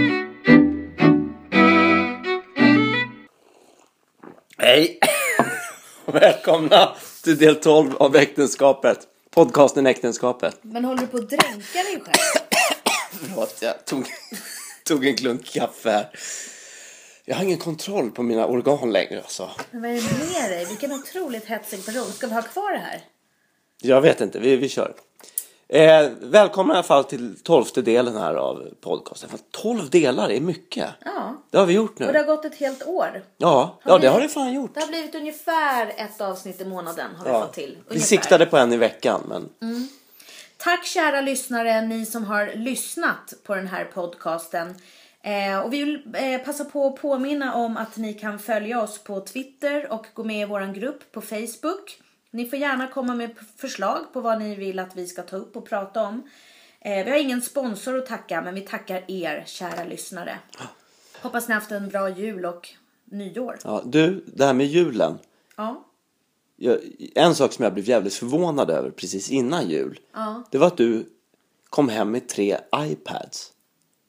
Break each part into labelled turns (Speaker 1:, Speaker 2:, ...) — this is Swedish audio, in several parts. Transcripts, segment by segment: Speaker 1: Välkomna till del 12 av Äktenskapet. Podcasten Äktenskapet.
Speaker 2: Men håller du på att dränka dig själv?
Speaker 1: Förlåt, jag tog, tog en klunk kaffe här. Jag har ingen kontroll på mina organ längre alltså.
Speaker 2: Men vad är det med dig? Vilken otroligt hetsig person. Ska vi ha kvar det här?
Speaker 1: Jag vet inte, vi, vi kör. Eh, välkomna i alla fall till tolfte delen här av podcasten. Fan, 12 delar är mycket.
Speaker 2: Ja.
Speaker 1: Det har vi gjort
Speaker 2: Och det
Speaker 1: nu.
Speaker 2: har gått ett helt år.
Speaker 1: Ja, ja det har det fan gjort.
Speaker 2: Det har blivit ungefär ett avsnitt i månaden har vi
Speaker 1: Ja.
Speaker 2: fått till. Ungefär.
Speaker 1: Vi siktade på en i veckan men
Speaker 2: Tack kära lyssnare, ni som har lyssnat på den här podcasten. Eh, och vi vill eh, passa på att påminna om att ni kan följa oss på Twitter och gå med i vår grupp på Facebook. Ni får gärna komma med p- förslag på vad ni vill att vi ska ta upp och prata om. Eh, vi har ingen sponsor att tacka, men vi tackar er kära lyssnare. Hoppas ni haft en bra jul och nyår.
Speaker 1: ja, du, det här med julen.
Speaker 2: Ja,
Speaker 1: jag, en sak som jag blev jävligt förvånad över precis innan jul.
Speaker 2: Ja.
Speaker 1: Det var att du kom hem med tre iPads.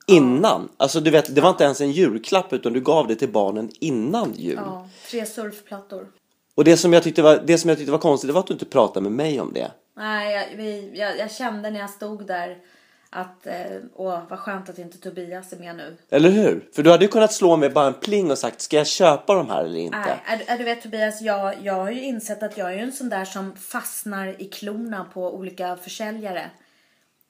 Speaker 1: Innan. Alltså du vet, det var inte ens en julklapp utan du gav det till barnen innan jul.
Speaker 2: ja. tre surfplattor.
Speaker 1: Och det som, jag tyckte var, det som jag tyckte var konstigt det var att du inte pratade med mig om det.
Speaker 2: Nej, jag, vi, jag, jag kände när jag stod där att eh, åh, vad skönt att inte Tobias är med nu.
Speaker 1: Eller hur? För du hade ju kunnat slå mig bara en pling och sagt ska jag köpa de här eller inte?
Speaker 2: Nej, är, är, du vet Tobias, jag, jag har ju insett att jag är ju en sån där som fastnar i klorna på olika försäljare.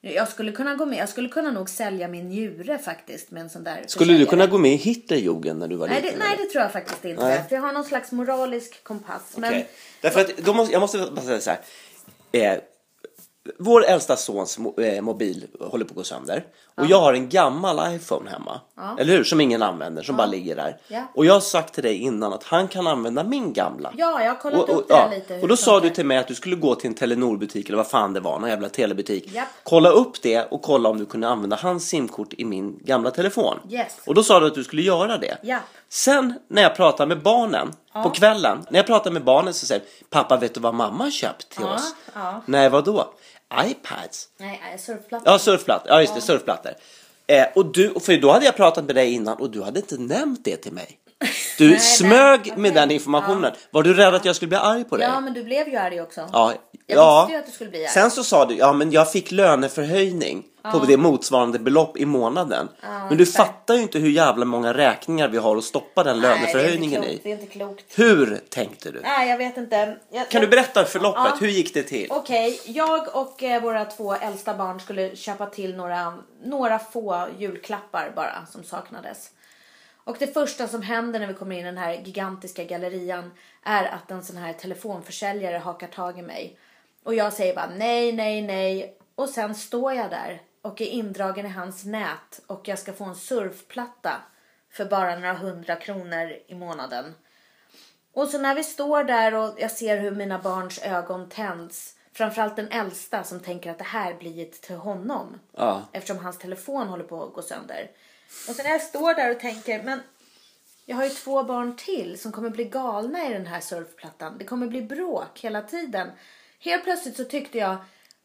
Speaker 2: Jag skulle kunna gå med, jag skulle kunna nog sälja min njure faktiskt med en sån där
Speaker 1: Skulle du
Speaker 2: försäljare.
Speaker 1: kunna gå med i Hitlerjugend när du var
Speaker 2: Nej
Speaker 1: liten?
Speaker 2: det, nej,
Speaker 1: eller?
Speaker 2: det tror jag faktiskt inte.
Speaker 1: Nej.
Speaker 2: För jag har någon slags moralisk kompass. Men
Speaker 1: Okej. Därför att, då måste, jag måste bara säga så här. Eh, vår äldsta sons mo, eh, mobil håller på att gå sönder. Och jag har en gammal iPhone hemma. Eller hur? Som ingen använder, som bara ligger där.
Speaker 2: Ja.
Speaker 1: Och jag har sagt till dig innan att han kan använda min gamla.
Speaker 2: ja, jag har kollat
Speaker 1: och, och,
Speaker 2: upp det här
Speaker 1: ja.
Speaker 2: lite. hur
Speaker 1: och då
Speaker 2: det
Speaker 1: sa du
Speaker 2: funkar.
Speaker 1: till mig att du skulle gå till en Telenor-butik eller vad fan det var, någon jävla telebutik.
Speaker 2: Japp.
Speaker 1: Kolla upp det och kolla om du kunde använda hans simkort i min gamla telefon.
Speaker 2: Yes.
Speaker 1: Och då sa du att du skulle göra det.
Speaker 2: Japp.
Speaker 1: Sen när jag pratade med barnen på kvällen, när jag pratade med barnen så säger de, pappa vet du vad mamma har köpt till
Speaker 2: Ja,
Speaker 1: oss?
Speaker 2: ja.
Speaker 1: Nej vadå? iPads?
Speaker 2: Nej, nej, surfplattor.
Speaker 1: Ja surfplattor, ja just det surfplattor. Eh, och du, för då hade jag pratat med dig innan och du hade inte nämnt det till mig. Du
Speaker 2: Nej,
Speaker 1: smög
Speaker 2: nej,
Speaker 1: med
Speaker 2: okej.
Speaker 1: den informationen. Var du rädd att jag skulle bli arg på dig?
Speaker 2: Ja, men du blev ju arg också.
Speaker 1: Ja,
Speaker 2: Jag visste ju att du skulle bli arg.
Speaker 1: Sen så sa du, ja men jag fick löneförhöjning på det motsvarande belopp i månaden. men du
Speaker 2: exakt.
Speaker 1: fattar ju inte hur jävla många räkningar vi har att stoppa den löneförhöjningen
Speaker 2: Nej, det
Speaker 1: i.
Speaker 2: är inte klokt. Det är inte klokt.
Speaker 1: Hur tänkte du?
Speaker 2: Nej, jag vet inte. Jag,
Speaker 1: Kan du berätta om förloppet?
Speaker 2: Ja.
Speaker 1: Hur gick det till?
Speaker 2: Okej, jag och eh, våra två äldsta barn skulle köpa till några, några få julklappar bara som saknades. Och det första som händer när vi kommer in i den här gigantiska gallerian är att en sån här telefonförsäljare hakar tag i mig. Och jag säger bara nej, nej, nej. Och sen står jag där och är indragen i hans nät och jag ska få en surfplatta för bara några hundra kronor i månaden. Och så när vi står där och jag ser hur mina barns ögon tänds. Framförallt den äldsta som tänker att det här blir ett till honom.
Speaker 1: Ja.
Speaker 2: Eftersom hans telefon håller på att gå sönder. Och så när jag står där och tänker, men jag har ju två barn till som kommer bli galna i den här surfplattan. Det kommer bli bråk hela tiden. Helt plötsligt så tyckte jag,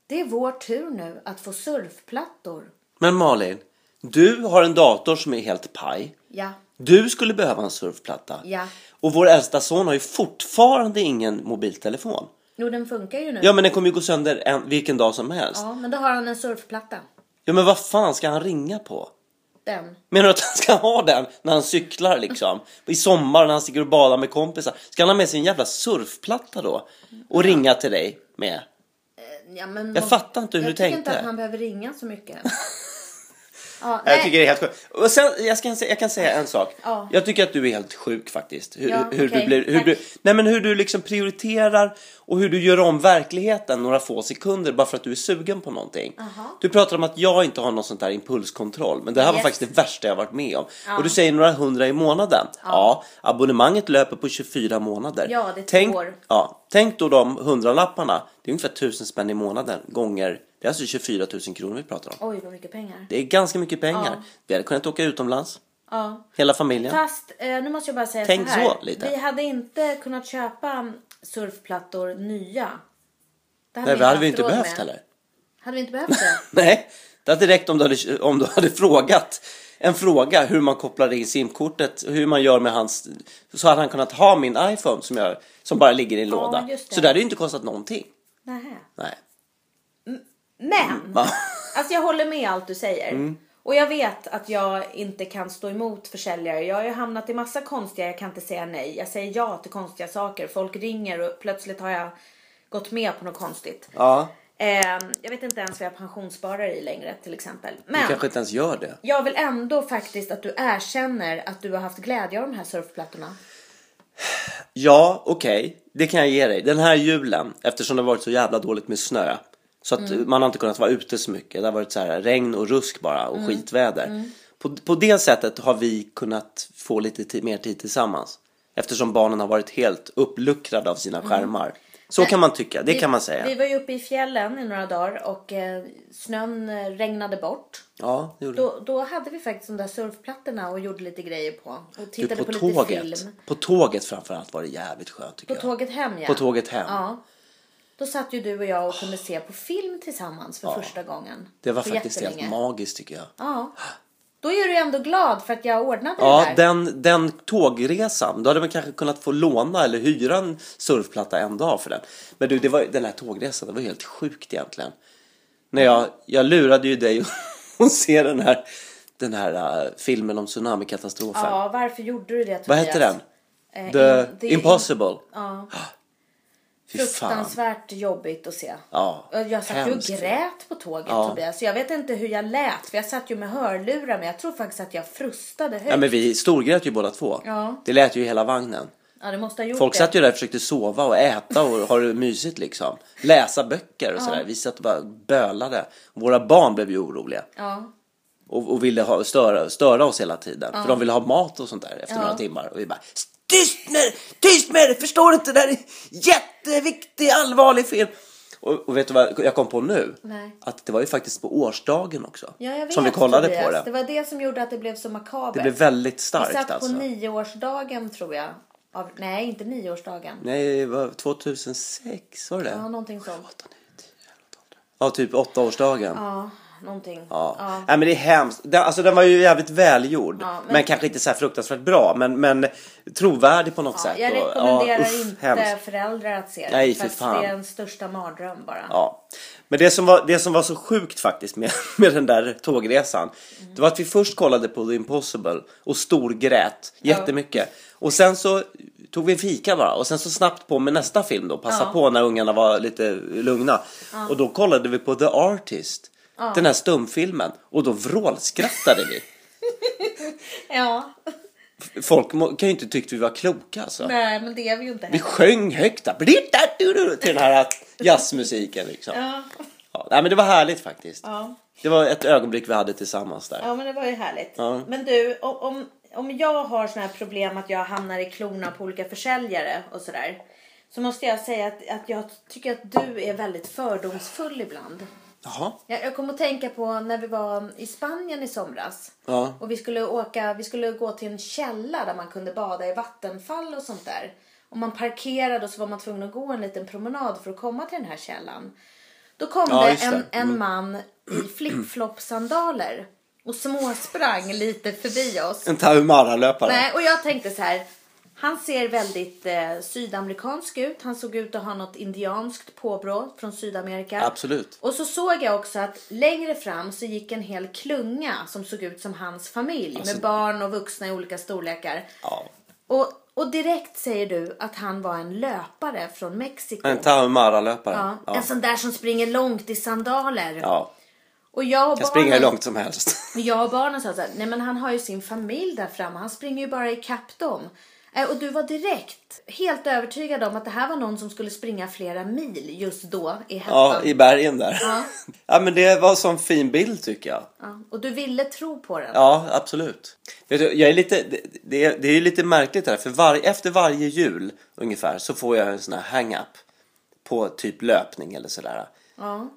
Speaker 2: det är vår tur nu att få surfplattor.
Speaker 1: Men Malin, du har en dator som är helt paj.
Speaker 2: Ja,
Speaker 1: Du skulle behöva en surfplatta.
Speaker 2: Ja.
Speaker 1: Och vår äldsta son har ju fortfarande ingen mobiltelefon.
Speaker 2: jo den funkar ju nu.
Speaker 1: Ja men den kommer ju gå sönder en, vilken dag som helst.
Speaker 2: ja men då har han en surfplatta.
Speaker 1: ja men vad fan ska han ringa på?
Speaker 2: Den.
Speaker 1: Menar du att han ska ha den när han cyklar liksom? I sommar när han sticker och badar med kompisar? Ska han ha med sig en jävla surfplatta då? Och ringa till dig med?
Speaker 2: Ja, men
Speaker 1: Jag fattar inte hur
Speaker 2: jag
Speaker 1: du
Speaker 2: Jag tycker
Speaker 1: tänkte.
Speaker 2: inte att han behöver ringa så mycket. ja,
Speaker 1: Jag
Speaker 2: nej,
Speaker 1: tycker det är helt sjukt. Och sen, jag, ska, jag kan säga en sak.
Speaker 2: Ja.
Speaker 1: Jag tycker att du är helt sjuk faktiskt. Hur,
Speaker 2: Ja,
Speaker 1: hur, du
Speaker 2: okej.
Speaker 1: blir, hur,
Speaker 2: Tack.
Speaker 1: du, nej men hur du liksom prioriterar och hur du gör om verkligheten några få sekunder bara för att du är sugen på någonting.
Speaker 2: Aha.
Speaker 1: Du pratar om att jag inte har någon sånt där impulskontroll. Men det här var
Speaker 2: Yes.
Speaker 1: faktiskt det värsta jag varit med om. Och du säger några hundra i månaden. Ja, abonnemanget löper på 24 månader.
Speaker 2: Ja, det är två
Speaker 1: tänk,
Speaker 2: år.
Speaker 1: Ja, tänk då de hundralapparna. Det är ungefär tusen spänn i månaden gånger. Det är alltså 24 000 kronor vi pratar om.
Speaker 2: Oj, vad mycket pengar.
Speaker 1: Det är ganska mycket pengar.
Speaker 2: Ja.
Speaker 1: Vi hade kunnat åka utomlands,
Speaker 2: Ja.
Speaker 1: hela familjen.
Speaker 2: Fast eh, nu måste jag bara säga
Speaker 1: Tänk
Speaker 2: så här.
Speaker 1: så lite.
Speaker 2: Vi hade inte kunnat köpa surfplattor nya. Det
Speaker 1: Nej, vi hade vi
Speaker 2: haft
Speaker 1: inte
Speaker 2: råd
Speaker 1: behövt
Speaker 2: med.
Speaker 1: heller.
Speaker 2: Hade vi inte behövt det?
Speaker 1: Nej, Det hade räckt om du hade, om du hade frågat en fråga hur man kopplar in simkortet, hur man gör med hans... Så hade han kunnat ha min iPhone som, jag, som bara ligger i en låda.
Speaker 2: just det.
Speaker 1: Så det hade ju inte kostat någonting.
Speaker 2: Nähä.
Speaker 1: Nej.
Speaker 2: Men!
Speaker 1: Mm, Va? Mm.
Speaker 2: Alltså jag håller med allt du säger. Och jag vet att jag inte kan stå emot försäljare. Jag har ju hamnat i massa konstiga, jag kan inte säga nej. Jag säger ja till konstiga saker. Folk ringer och plötsligt har jag gått med på något konstigt.
Speaker 1: Ja,
Speaker 2: Ehm, jag vet inte ens vad jag pensionssparar i längre till exempel.
Speaker 1: du
Speaker 2: Men
Speaker 1: kanske inte ens gör det.
Speaker 2: jag vill ändå faktiskt att du erkänner att du har haft glädje av de här surfplattorna.
Speaker 1: Ja, okej. Det kan jag ge dig. Den här julen, eftersom det har varit så jävla dåligt med snö. Så att
Speaker 2: Mm.
Speaker 1: man har inte kunnat vara ute så mycket. Det har varit så här regn och rusk bara och
Speaker 2: Mm.
Speaker 1: skitväder. På, på det sättet har vi kunnat få lite ti- mer tid tillsammans. Eftersom barnen har varit helt uppluckrade av sina
Speaker 2: Mm.
Speaker 1: skärmar. Så kan man tycka, det kan man säga.
Speaker 2: Vi var ju uppe i fjällen i några dagar och eh, snön eh, regnade bort.
Speaker 1: Ja, det gjorde vi.
Speaker 2: Då, då hade vi faktiskt de där surfplattorna och gjorde lite grejer på. Och
Speaker 1: du,
Speaker 2: tittade
Speaker 1: på,
Speaker 2: på, lite
Speaker 1: tåget.
Speaker 2: film.
Speaker 1: På tåget framförallt var det jävligt skönt tycker
Speaker 2: På
Speaker 1: jag.
Speaker 2: tåget hem ja.
Speaker 1: På tåget hem.
Speaker 2: Ja. Då satt ju du och jag och kunde se på film tillsammans för första gången.
Speaker 1: Det var
Speaker 2: på
Speaker 1: faktiskt helt
Speaker 2: jättelänge.
Speaker 1: magiskt tycker jag.
Speaker 2: Ja. Då är du ändå glad för att jag ordnade det
Speaker 1: Ja,
Speaker 2: där.
Speaker 1: den, den tågresan. Då hade man kanske kunnat få låna eller hyra en surfplatta en dag för den. Men du, det var, den här tågresan, det var ju helt sjukt egentligen. När jag, jag lurade ju dig att se den här, den här eh, filmen om tsunamikatastrofen.
Speaker 2: Ja, varför gjorde du det Tobias?
Speaker 1: Vad hette den?
Speaker 2: Eh,
Speaker 1: The
Speaker 2: in- det är
Speaker 1: Impossible.
Speaker 2: Ja,
Speaker 1: Fy fan.
Speaker 2: fruktansvärt jobbigt att se.
Speaker 1: Ja,
Speaker 2: Och Jag satt ju och
Speaker 1: hemskt.
Speaker 2: grät på tåget
Speaker 1: Ja.
Speaker 2: Tobias. Så jag vet inte hur jag lät. För jag satt ju med hörlurar men jag tror faktiskt att jag frustade högt.
Speaker 1: Ja, men vi storgrät ju båda två.
Speaker 2: Ja.
Speaker 1: Det lät ju i hela vagnen.
Speaker 2: Ja, det måste ha gjort
Speaker 1: Folk
Speaker 2: det.
Speaker 1: satt ju där och försökte sova och äta och ha det mysigt liksom. Läsa böcker och sådär. Vi satt och bara bölade. Våra barn blev ju oroliga.
Speaker 2: Ja.
Speaker 1: och, och ville ha, störa, störa oss hela tiden. För de ville ha mat och sånt där efter
Speaker 2: Ja.
Speaker 1: några timmar. Och vi bara tyst med dig, tyst med dig, förstår du inte? Det här är jätteviktig, allvarlig film. Och, och vet du vad jag kom på nu?
Speaker 2: Nej.
Speaker 1: Att det var ju faktiskt på årsdagen också.
Speaker 2: ja, jag vet
Speaker 1: som vi kollade
Speaker 2: Tobias.
Speaker 1: på det.
Speaker 2: Det var det som gjorde att det blev så makabert.
Speaker 1: Det blev väldigt
Speaker 2: Vi
Speaker 1: starkt
Speaker 2: satt på
Speaker 1: alltså.
Speaker 2: nioårsdagen tror jag. Av, nej, inte nioårsdagen.
Speaker 1: Nej, det var 2006 var det det?
Speaker 2: Ja, någonting sånt.
Speaker 1: Åtta, nio, tio, elva, tolv. Ja, typ åttaårsdagen.
Speaker 2: Ja, någonting.
Speaker 1: Ja. Nej, men det är hemskt. Den, alltså, den var ju jävligt välgjord.
Speaker 2: Ja, men-
Speaker 1: men... kanske inte så här fruktansvärt bra. Men, men trovärdig på något
Speaker 2: Ja,
Speaker 1: sätt.
Speaker 2: jag
Speaker 1: och-
Speaker 2: rekommenderar
Speaker 1: uff,
Speaker 2: inte
Speaker 1: hemskt.
Speaker 2: föräldrar att se det.
Speaker 1: Nej,
Speaker 2: för
Speaker 1: för
Speaker 2: att
Speaker 1: fan.
Speaker 2: Det är en största mardröm bara.
Speaker 1: Ja. Men det som, var, det som var så sjukt faktiskt med, med den där tågresan.
Speaker 2: Mm.
Speaker 1: Det var att vi först kollade på The Impossible och storgrät jättemycket. Och sen så tog vi en fika bara och sen så snabbt på med nästa film då. Passa
Speaker 2: Ja.
Speaker 1: på när ungarna var lite lugna. Och då kollade vi på The Artist. Den här stumfilmen. Och då vrålskrattade vi.
Speaker 2: Ja.
Speaker 1: Folk må- kan ju inte tyckt vi var kloka alltså.
Speaker 2: Nej, men det är vi ju inte
Speaker 1: Vi
Speaker 2: heller.
Speaker 1: sjöng högt där, blitta, du, du, till den här jazzmusiken liksom.
Speaker 2: Ja.
Speaker 1: Ja, nej, men det var härligt faktiskt.
Speaker 2: Ja.
Speaker 1: Det var ett ögonblick vi hade tillsammans där.
Speaker 2: ja, men det var ju härligt.
Speaker 1: Ja.
Speaker 2: Men du, o- om, om jag har såna här problem att jag hamnar i klorna på olika försäljare och sådär. Så måste jag säga att, att jag tycker att du är väldigt fördomsfull ibland.
Speaker 1: Jaha,
Speaker 2: Jag, jag kom att tänka på när vi var i Spanien i somras.
Speaker 1: Ja.
Speaker 2: Och vi skulle, åka, vi skulle gå till en källa där man kunde bada i vattenfall och sånt där. Och man parkerade och så var man tvungen att gå en liten promenad för att komma till den här källan. Då kom
Speaker 1: Ja,
Speaker 2: det
Speaker 1: just det. Mm.
Speaker 2: en, en man i flip-flop-sandaler och småsprang lite förbi oss.
Speaker 1: en Taumara-löpare.
Speaker 2: Nej, Eh, och jag tänkte så här. Han ser väldigt eh, sydamerikansk ut. Han såg ut att ha något indianskt påbrå från Sydamerika.
Speaker 1: Absolut.
Speaker 2: Och så såg jag också att längre fram så gick en hel klunga som såg ut som hans familj
Speaker 1: Alltså-
Speaker 2: med barn och vuxna i olika storlekar.
Speaker 1: Ja.
Speaker 2: Och, och direkt säger du att han var en löpare från Mexiko.
Speaker 1: En Taumara-löpare.
Speaker 2: ja,
Speaker 1: Ja.
Speaker 2: En sån där som springer långt i sandaler.
Speaker 1: Ja.
Speaker 2: Och jag och
Speaker 1: Kan springa hur
Speaker 2: barnen-
Speaker 1: långt som helst.
Speaker 2: och Jag och barnen sa så här, nej men han har ju sin familj där framme, han springer ju bara ikapp dem. Eh, Och du var direkt helt övertygad om att det här var någon som skulle springa flera mil just då i
Speaker 1: Ja,
Speaker 2: Hettan.
Speaker 1: i bergen där.
Speaker 2: Ja.
Speaker 1: ja, men det var en sån fin bild tycker jag.
Speaker 2: Ja, och du ville tro på den.
Speaker 1: Ja, absolut. Vet du, jag är lite, det- det, är, det är ju lite märkligt det här, för var, efter varje jul ungefär så får jag en sån här hang-up på typ löpning eller sådär.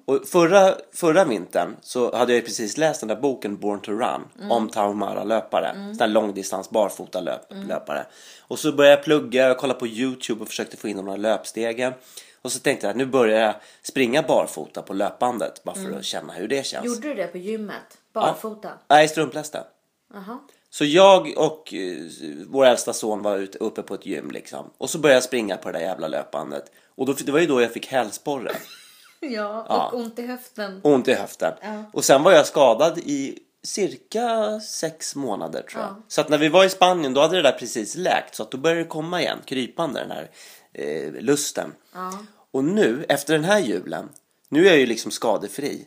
Speaker 1: Och förra, förra vintern så hade jag ju precis läst den där boken Born to Run om Taumara-löpare. Sån där långdistans barfota löp, löpare. Och så började jag plugga och kolla på YouTube och försökte få in de här löpstegen. Och så tänkte jag att nu börjar jag springa barfota på löpbandet bara för att känna hur det känns.
Speaker 2: Gjorde du det på gymmet? Barfota?
Speaker 1: Nej, strumplästen.
Speaker 2: Jaha.
Speaker 1: Så jag och eh, vår äldsta son var ute, uppe på ett gym liksom. Och så började jag springa på det där jävla löpbandet. Och då, det var ju då jag fick hälsporre.
Speaker 2: Ja, och ont i höften.
Speaker 1: Och ont i höften.
Speaker 2: Ja.
Speaker 1: Och sen var jag skadad i cirka sex månader tror jag. Så att när vi var i Spanien då hade det där precis läkt. Så att då började det komma igen, krypande den här eh, lusten. Och nu, efter den här julen, nu är jag ju liksom skadefri.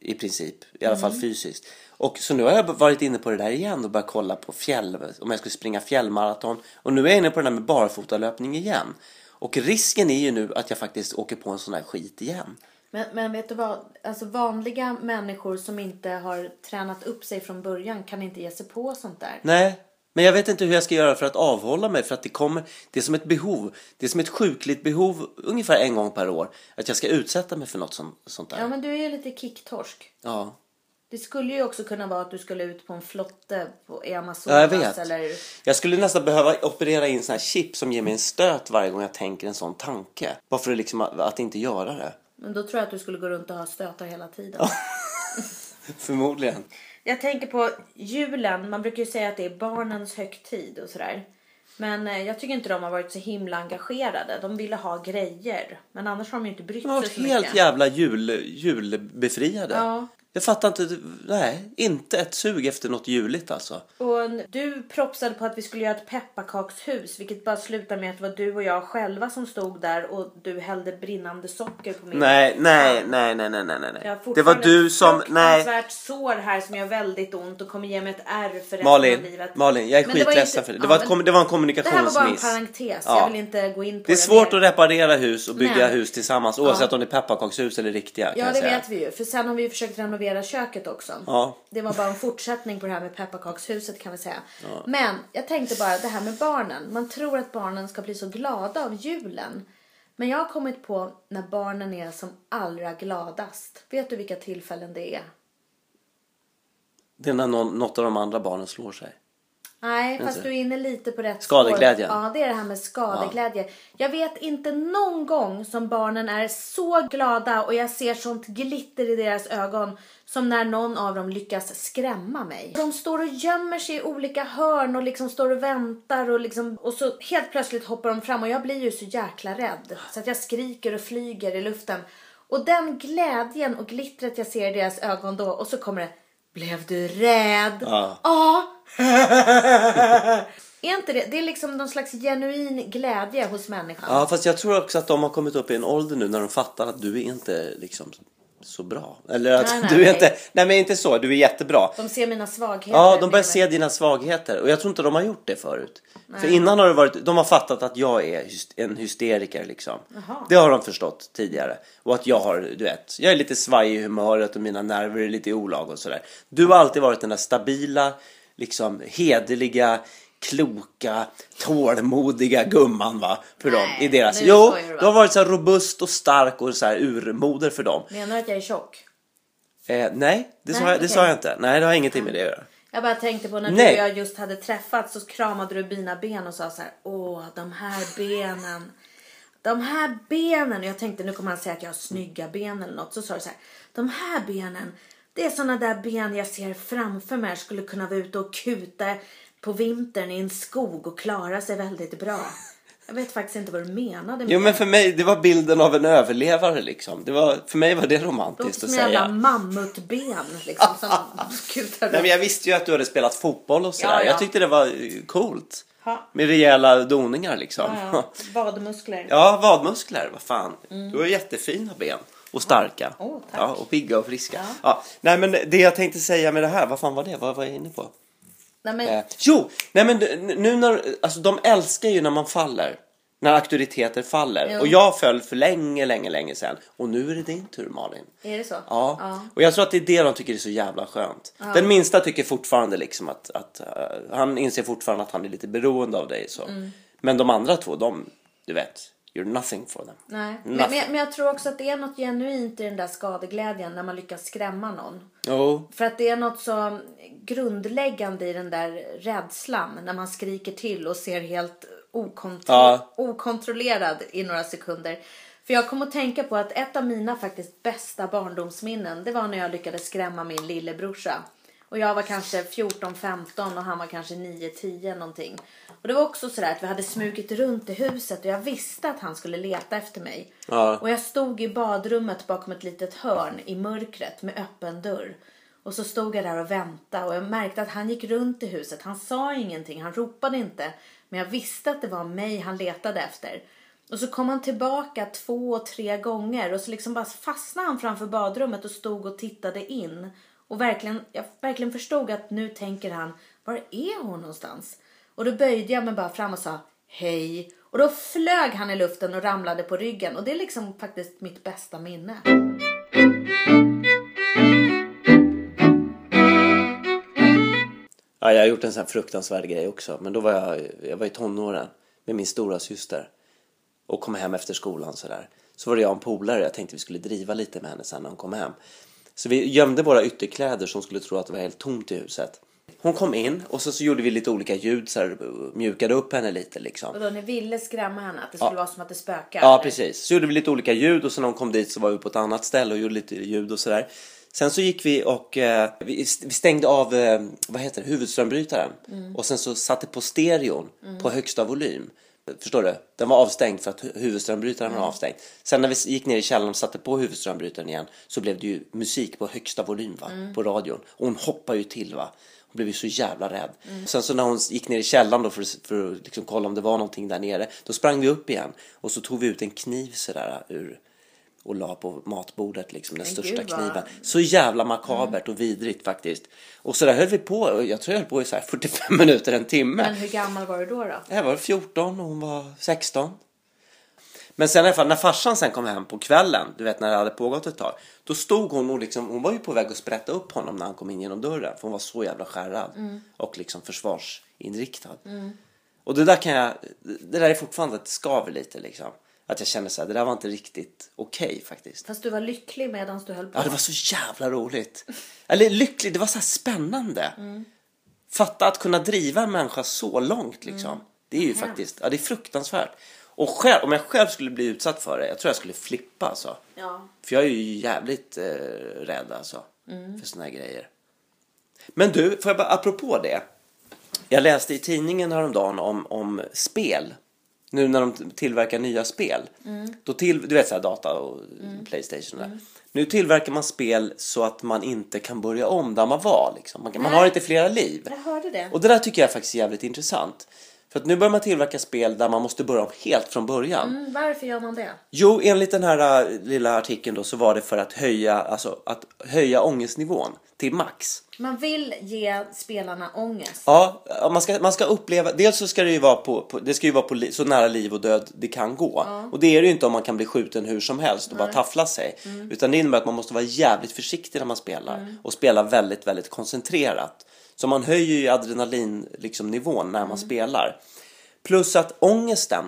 Speaker 1: I princip, i alla fall fysiskt. Och så nu har jag varit inne på det där igen och börjat kolla på fjäll, om jag skulle springa fjällmaraton. Och nu är jag inne på den där med barfotalöpning igen. Och risken är ju nu att jag faktiskt åker på en sån här skit igen.
Speaker 2: Men, men vet du vad? Alltså vanliga människor som inte har tränat upp sig från början kan inte ge sig på sånt där.
Speaker 1: Nej, men jag vet inte hur jag ska göra för att avhålla mig för att det kommer, det är som ett behov, det är som ett sjukligt behov ungefär en gång per år att jag ska utsätta mig för något som, sånt där.
Speaker 2: Ja, men du är ju lite kicktorsk.
Speaker 1: Ja.
Speaker 2: Det skulle ju också kunna vara att du skulle ut på en flotte på i Amazonas.
Speaker 1: ja, jag vet.
Speaker 2: Eller...
Speaker 1: Jag skulle nästan behöva operera in sån här chip som ger mig en stöt varje gång jag tänker en sån tanke. Bara för att, liksom, att, att inte göra det.
Speaker 2: Men då tror jag att du skulle gå runt och ha stötar hela tiden.
Speaker 1: Förmodligen.
Speaker 2: Jag tänker på julen. Man brukar ju säga att det är barnens högtid och sådär. Men eh, jag tycker inte de har varit så himla engagerade. De ville ha grejer. Men annars har de ju inte brytt
Speaker 1: De har
Speaker 2: sig
Speaker 1: varit
Speaker 2: så
Speaker 1: helt
Speaker 2: mycket.
Speaker 1: jävla jul, julbefriade.
Speaker 2: Ja.
Speaker 1: Jag fattar inte, nej, inte ett sug efter något juligt alltså.
Speaker 2: Och en- du propsade på att vi skulle göra ett pepparkakshus. Vilket bara slutade med att det var du och jag själva som stod där. Och du hällde brinnande socker på min.
Speaker 1: Nej, nej, nej, nej, nej, nej, nej.
Speaker 2: Jag har
Speaker 1: Det var
Speaker 2: fortfarande
Speaker 1: du som,
Speaker 2: ett
Speaker 1: nej.
Speaker 2: fruktansvärt sår här som gör väldigt ont och kommer ge mig ett ärr för resten av
Speaker 1: Malin,
Speaker 2: livet.
Speaker 1: Malin, jag är
Speaker 2: Men det var ju
Speaker 1: skitledsen
Speaker 2: inte-
Speaker 1: för det.
Speaker 2: ja,
Speaker 1: Det var, ett
Speaker 2: men
Speaker 1: kom, det var en
Speaker 2: Det här var bara en
Speaker 1: kommunikationsmiss.
Speaker 2: parentes.
Speaker 1: Ja.
Speaker 2: Jag vill inte gå in på
Speaker 1: Det är
Speaker 2: mer.
Speaker 1: svårt att reparera hus och bygga
Speaker 2: Men-
Speaker 1: hus tillsammans oavsett om det är pepparkakshus eller riktiga. Kan
Speaker 2: Ja,
Speaker 1: jag
Speaker 2: det
Speaker 1: säga.
Speaker 2: vet vi ju. För sen har vi ju försökt renovera köket också.
Speaker 1: Ja.
Speaker 2: Det var bara en fortsättning på det här med pepparkakshuset kan vi säga. Men jag tänkte bara det här med barnen. Man tror att barnen ska bli så glada av julen. Men jag har kommit på när barnen är som allra gladast. Vet du vilka tillfällen det är?
Speaker 1: Det är när någon, något av de andra barnen slår sig.
Speaker 2: Nej, fast du är inne lite på rätt
Speaker 1: Skadeglädjen.
Speaker 2: spår. Ja, det är det här med skadeglädje. Jag vet inte någon gång som barnen är så glada och jag ser sånt glitter i deras ögon som när någon av dem lyckas skrämma mig. De står och gömmer sig i olika hörn och liksom står och väntar och liksom och så helt plötsligt hoppar de fram och jag blir ju så jäkla rädd så att jag skriker och flyger i luften. Och den glädjen och glittret jag ser i deras ögon då och så kommer det blev du rädd?
Speaker 1: Ja.
Speaker 2: ja. Är inte det? Det är liksom någon slags genuin glädje hos människan.
Speaker 1: Ja, fast jag tror också att de har kommit upp i en ålder nu när de fattar att du är inte liksom så bra. Eller att
Speaker 2: Nej, nej,
Speaker 1: du är
Speaker 2: nej.
Speaker 1: inte, nej men inte så, du är jättebra.
Speaker 2: De ser mina svagheter.
Speaker 1: Ja, de börjar
Speaker 2: med mig.
Speaker 1: se dina svagheter och jag tror inte de har gjort det förut. För innan har det varit, de har fattat att jag är hyst- en hysteriker liksom.
Speaker 2: Jaha.
Speaker 1: Det har de förstått tidigare. Och att jag har, du vet, jag är lite svajig i humöret och mina nerver är lite i olag och sådär. Du har alltid varit den där stabila, liksom hederliga, kloka, tålmodiga gumman va? För dem,
Speaker 2: Nej,
Speaker 1: i deras...
Speaker 2: nu
Speaker 1: Jo,
Speaker 2: skojar du, va?
Speaker 1: du har varit så här robust och stark och så här urmoder för dem.
Speaker 2: Menar du att jag är tjock?
Speaker 1: Eh, nej, det, sa,
Speaker 2: Nej,
Speaker 1: jag, det
Speaker 2: okej.
Speaker 1: sa jag inte. Nej, det har ingenting med det att göra.
Speaker 2: Jag bara tänkte på när
Speaker 1: Nej.
Speaker 2: du och jag just hade träffats så kramade du mina ben och sa så här. Åh, de här benen. De här benen. Och jag tänkte nu kommer han säga att jag har snygga ben eller något. Så sa du så här. De här benen. Det är såna där ben jag ser framför mig Jag skulle kunna vara ute och kuta på vintern i en skog och klara sig väldigt bra. Jag vet faktiskt inte vad du menade med
Speaker 1: Jo
Speaker 2: det.
Speaker 1: men för mig, det var bilden av en överlevare liksom. Det var, för mig var det
Speaker 2: Det låter
Speaker 1: romantiskt
Speaker 2: som
Speaker 1: att
Speaker 2: jävla
Speaker 1: säga.
Speaker 2: mammutben liksom som kutar
Speaker 1: Nej, men
Speaker 2: upp.
Speaker 1: jag visste ju att du hade spelat fotboll och sådär.
Speaker 2: Ja, ja.
Speaker 1: Jag tyckte det var eh, coolt.
Speaker 2: Ha.
Speaker 1: Med rejäla doningar liksom.
Speaker 2: Ja, ja. Vadmuskler.
Speaker 1: Ja, vadmuskler, vad fan. Du har jättefina ben. Och starka.
Speaker 2: Åh, tack.
Speaker 1: ja, och pigga och friska. Ja. Nej men det jag tänkte säga med det här, vad fan var det? Vad var jag inne på?
Speaker 2: Nej, men,
Speaker 1: Eh, jo, nej men nu när, alltså de älskar ju när man faller. När auktoriteter faller.
Speaker 2: Jo.
Speaker 1: Och jag föll för länge, länge, länge sedan. Och nu är det din tur Malin.
Speaker 2: Är det så?
Speaker 1: Ja. och jag tror att det är det de tycker är så jävla skönt. Den minsta tycker fortfarande liksom att, att eh, han inser fortfarande att han är lite beroende av dig så. Men de andra två, de, du vet, you're nothing for them.
Speaker 2: Nej. Men,
Speaker 1: Nothing.
Speaker 2: men, jag- men jag tror också att det är något genuint i den där skadeglädjen när man lyckas skrämma någon.
Speaker 1: Jo,
Speaker 2: För att det är något så grundläggande i den där rädslan när man skriker till och ser helt okontro-
Speaker 1: Ja.
Speaker 2: okontrollerad i några sekunder. För jag kom att tänka på att ett av mina faktiskt bästa barndomsminnen, det var när jag lyckades skrämma min lillebrorsa. Och jag var kanske 14-15 och han var kanske 9-10 någonting. Och det var också sådär att vi hade smugit runt i huset och jag visste att han skulle leta efter mig.
Speaker 1: Ja.
Speaker 2: Och jag stod i badrummet bakom ett litet hörn i mörkret med öppen dörr. Och så stod jag där och väntade och jag märkte att han gick runt i huset. Han sa ingenting, han ropade inte. Men jag visste att det var mig han letade efter. Och så kom han tillbaka två, tre gånger och så liksom bara fastnade han framför badrummet och stod och tittade in. Och verkligen, jag verkligen förstod att nu tänker han, var är hon någonstans? Och då böjde jag mig bara fram och sa hej. Och då flög han i luften och ramlade på ryggen. Och det är liksom faktiskt mitt bästa minne.
Speaker 1: Ja, jag har gjort en sån här fruktansvärd grej också. Men då var jag, jag var i tonåren med min stora syster och kom hem efter skolan sådär. Så var det jag och en polare, jag tänkte vi skulle driva lite med henne sen när hon kom hem. Så vi gömde våra ytterkläder som skulle tro att det var helt tomt i huset. Hon kom in och så, så gjorde vi lite olika ljud så här, mjukade upp henne lite liksom.
Speaker 2: Och då ni ville skrämma henne att det skulle vara som att det spökar.
Speaker 1: Ja,
Speaker 2: eller?
Speaker 1: precis. Så gjorde vi lite olika ljud och sen när hon kom dit så var vi på ett annat ställe och gjorde lite ljud och sådär. Sen så gick vi och eh, vi st- vi stängde av eh, vad heter det, huvudströmbrytaren och sen så satte på stereon på högsta volym. Förstår du? Den var avstängd för att hu- huvudströmbrytaren var avstängd. Sen när vi s- gick ner i källaren och satte på huvudströmbrytaren igen så blev det ju musik på högsta volym va? på radion. Och hon hoppade ju till va. Hon blev ju så jävla rädd. Sen så när hon gick ner i källaren då för, att- för att liksom kolla om det var någonting där nere. Då sprang vi upp igen och så tog vi ut en kniv sådär ur och la på matbordet liksom den största
Speaker 2: gud, vad-
Speaker 1: kniven. Så jävla makabert och vidrigt faktiskt. Och så där höll vi på. och Jag tror jag höll på i så här 45 minuter, en timme.
Speaker 2: Men hur gammal var du då? då?
Speaker 1: Jag var 14 och hon var 16. Men sen i alla fall när farsan sen kom hem på kvällen, du vet när det hade pågått ett tag. Då stod hon och liksom, hon var ju på väg att sprätta upp honom när han kom in genom dörren. För hon var så jävla skärrad och liksom försvarsinriktad. Och det där kan jag, det där är fortfarande ett skaver lite liksom. Att jag känner så här, det där var inte riktigt okej faktiskt.
Speaker 2: Fast du var lycklig medan du höll på.
Speaker 1: Ja, det var så jävla roligt. Eller lyckligt, det var så här spännande. Fatta att kunna driva en människa så långt liksom. Det är ju faktiskt, ja det är fruktansvärt. Och själv, om jag själv skulle bli utsatt för det, jag tror jag skulle flippa alltså.
Speaker 2: Ja.
Speaker 1: För jag är ju jävligt eh, rädd alltså. För såna här grejer. Men du, får jag bara, apropå det. Jag läste i tidningen häromdagen om, om spel. Nu när de tillverkar nya spel. Då till, du vet så här data och Playstation och där. Nu tillverkar man spel så att man inte kan börja om där man var. Liksom. Man, kan- man
Speaker 2: Nej.
Speaker 1: har inte flera liv.
Speaker 2: Jag hörde det.
Speaker 1: Och det där tycker jag faktiskt är jävligt intressant. För att nu börjar man tillverka spel där man måste börja om helt från början.
Speaker 2: Mm, varför gör man det?
Speaker 1: Jo, enligt den här äh, lilla artikeln då så var det för att höja, alltså, att höja ångestnivån till max.
Speaker 2: Man vill ge spelarna ångest.
Speaker 1: Ja, ja, man ska, man ska uppleva, dels så ska det ju vara på, på, det ska ju vara på li, så nära liv och död det kan gå. Och det är det ju inte om man kan bli skjuten hur som helst och bara taffla sig. Utan det innebär att man måste vara jävligt försiktig när man spelar och spela väldigt, väldigt koncentrerat. Så man höjer ju adrenalin, liksom, nivån när man spelar. Plus att ångesten,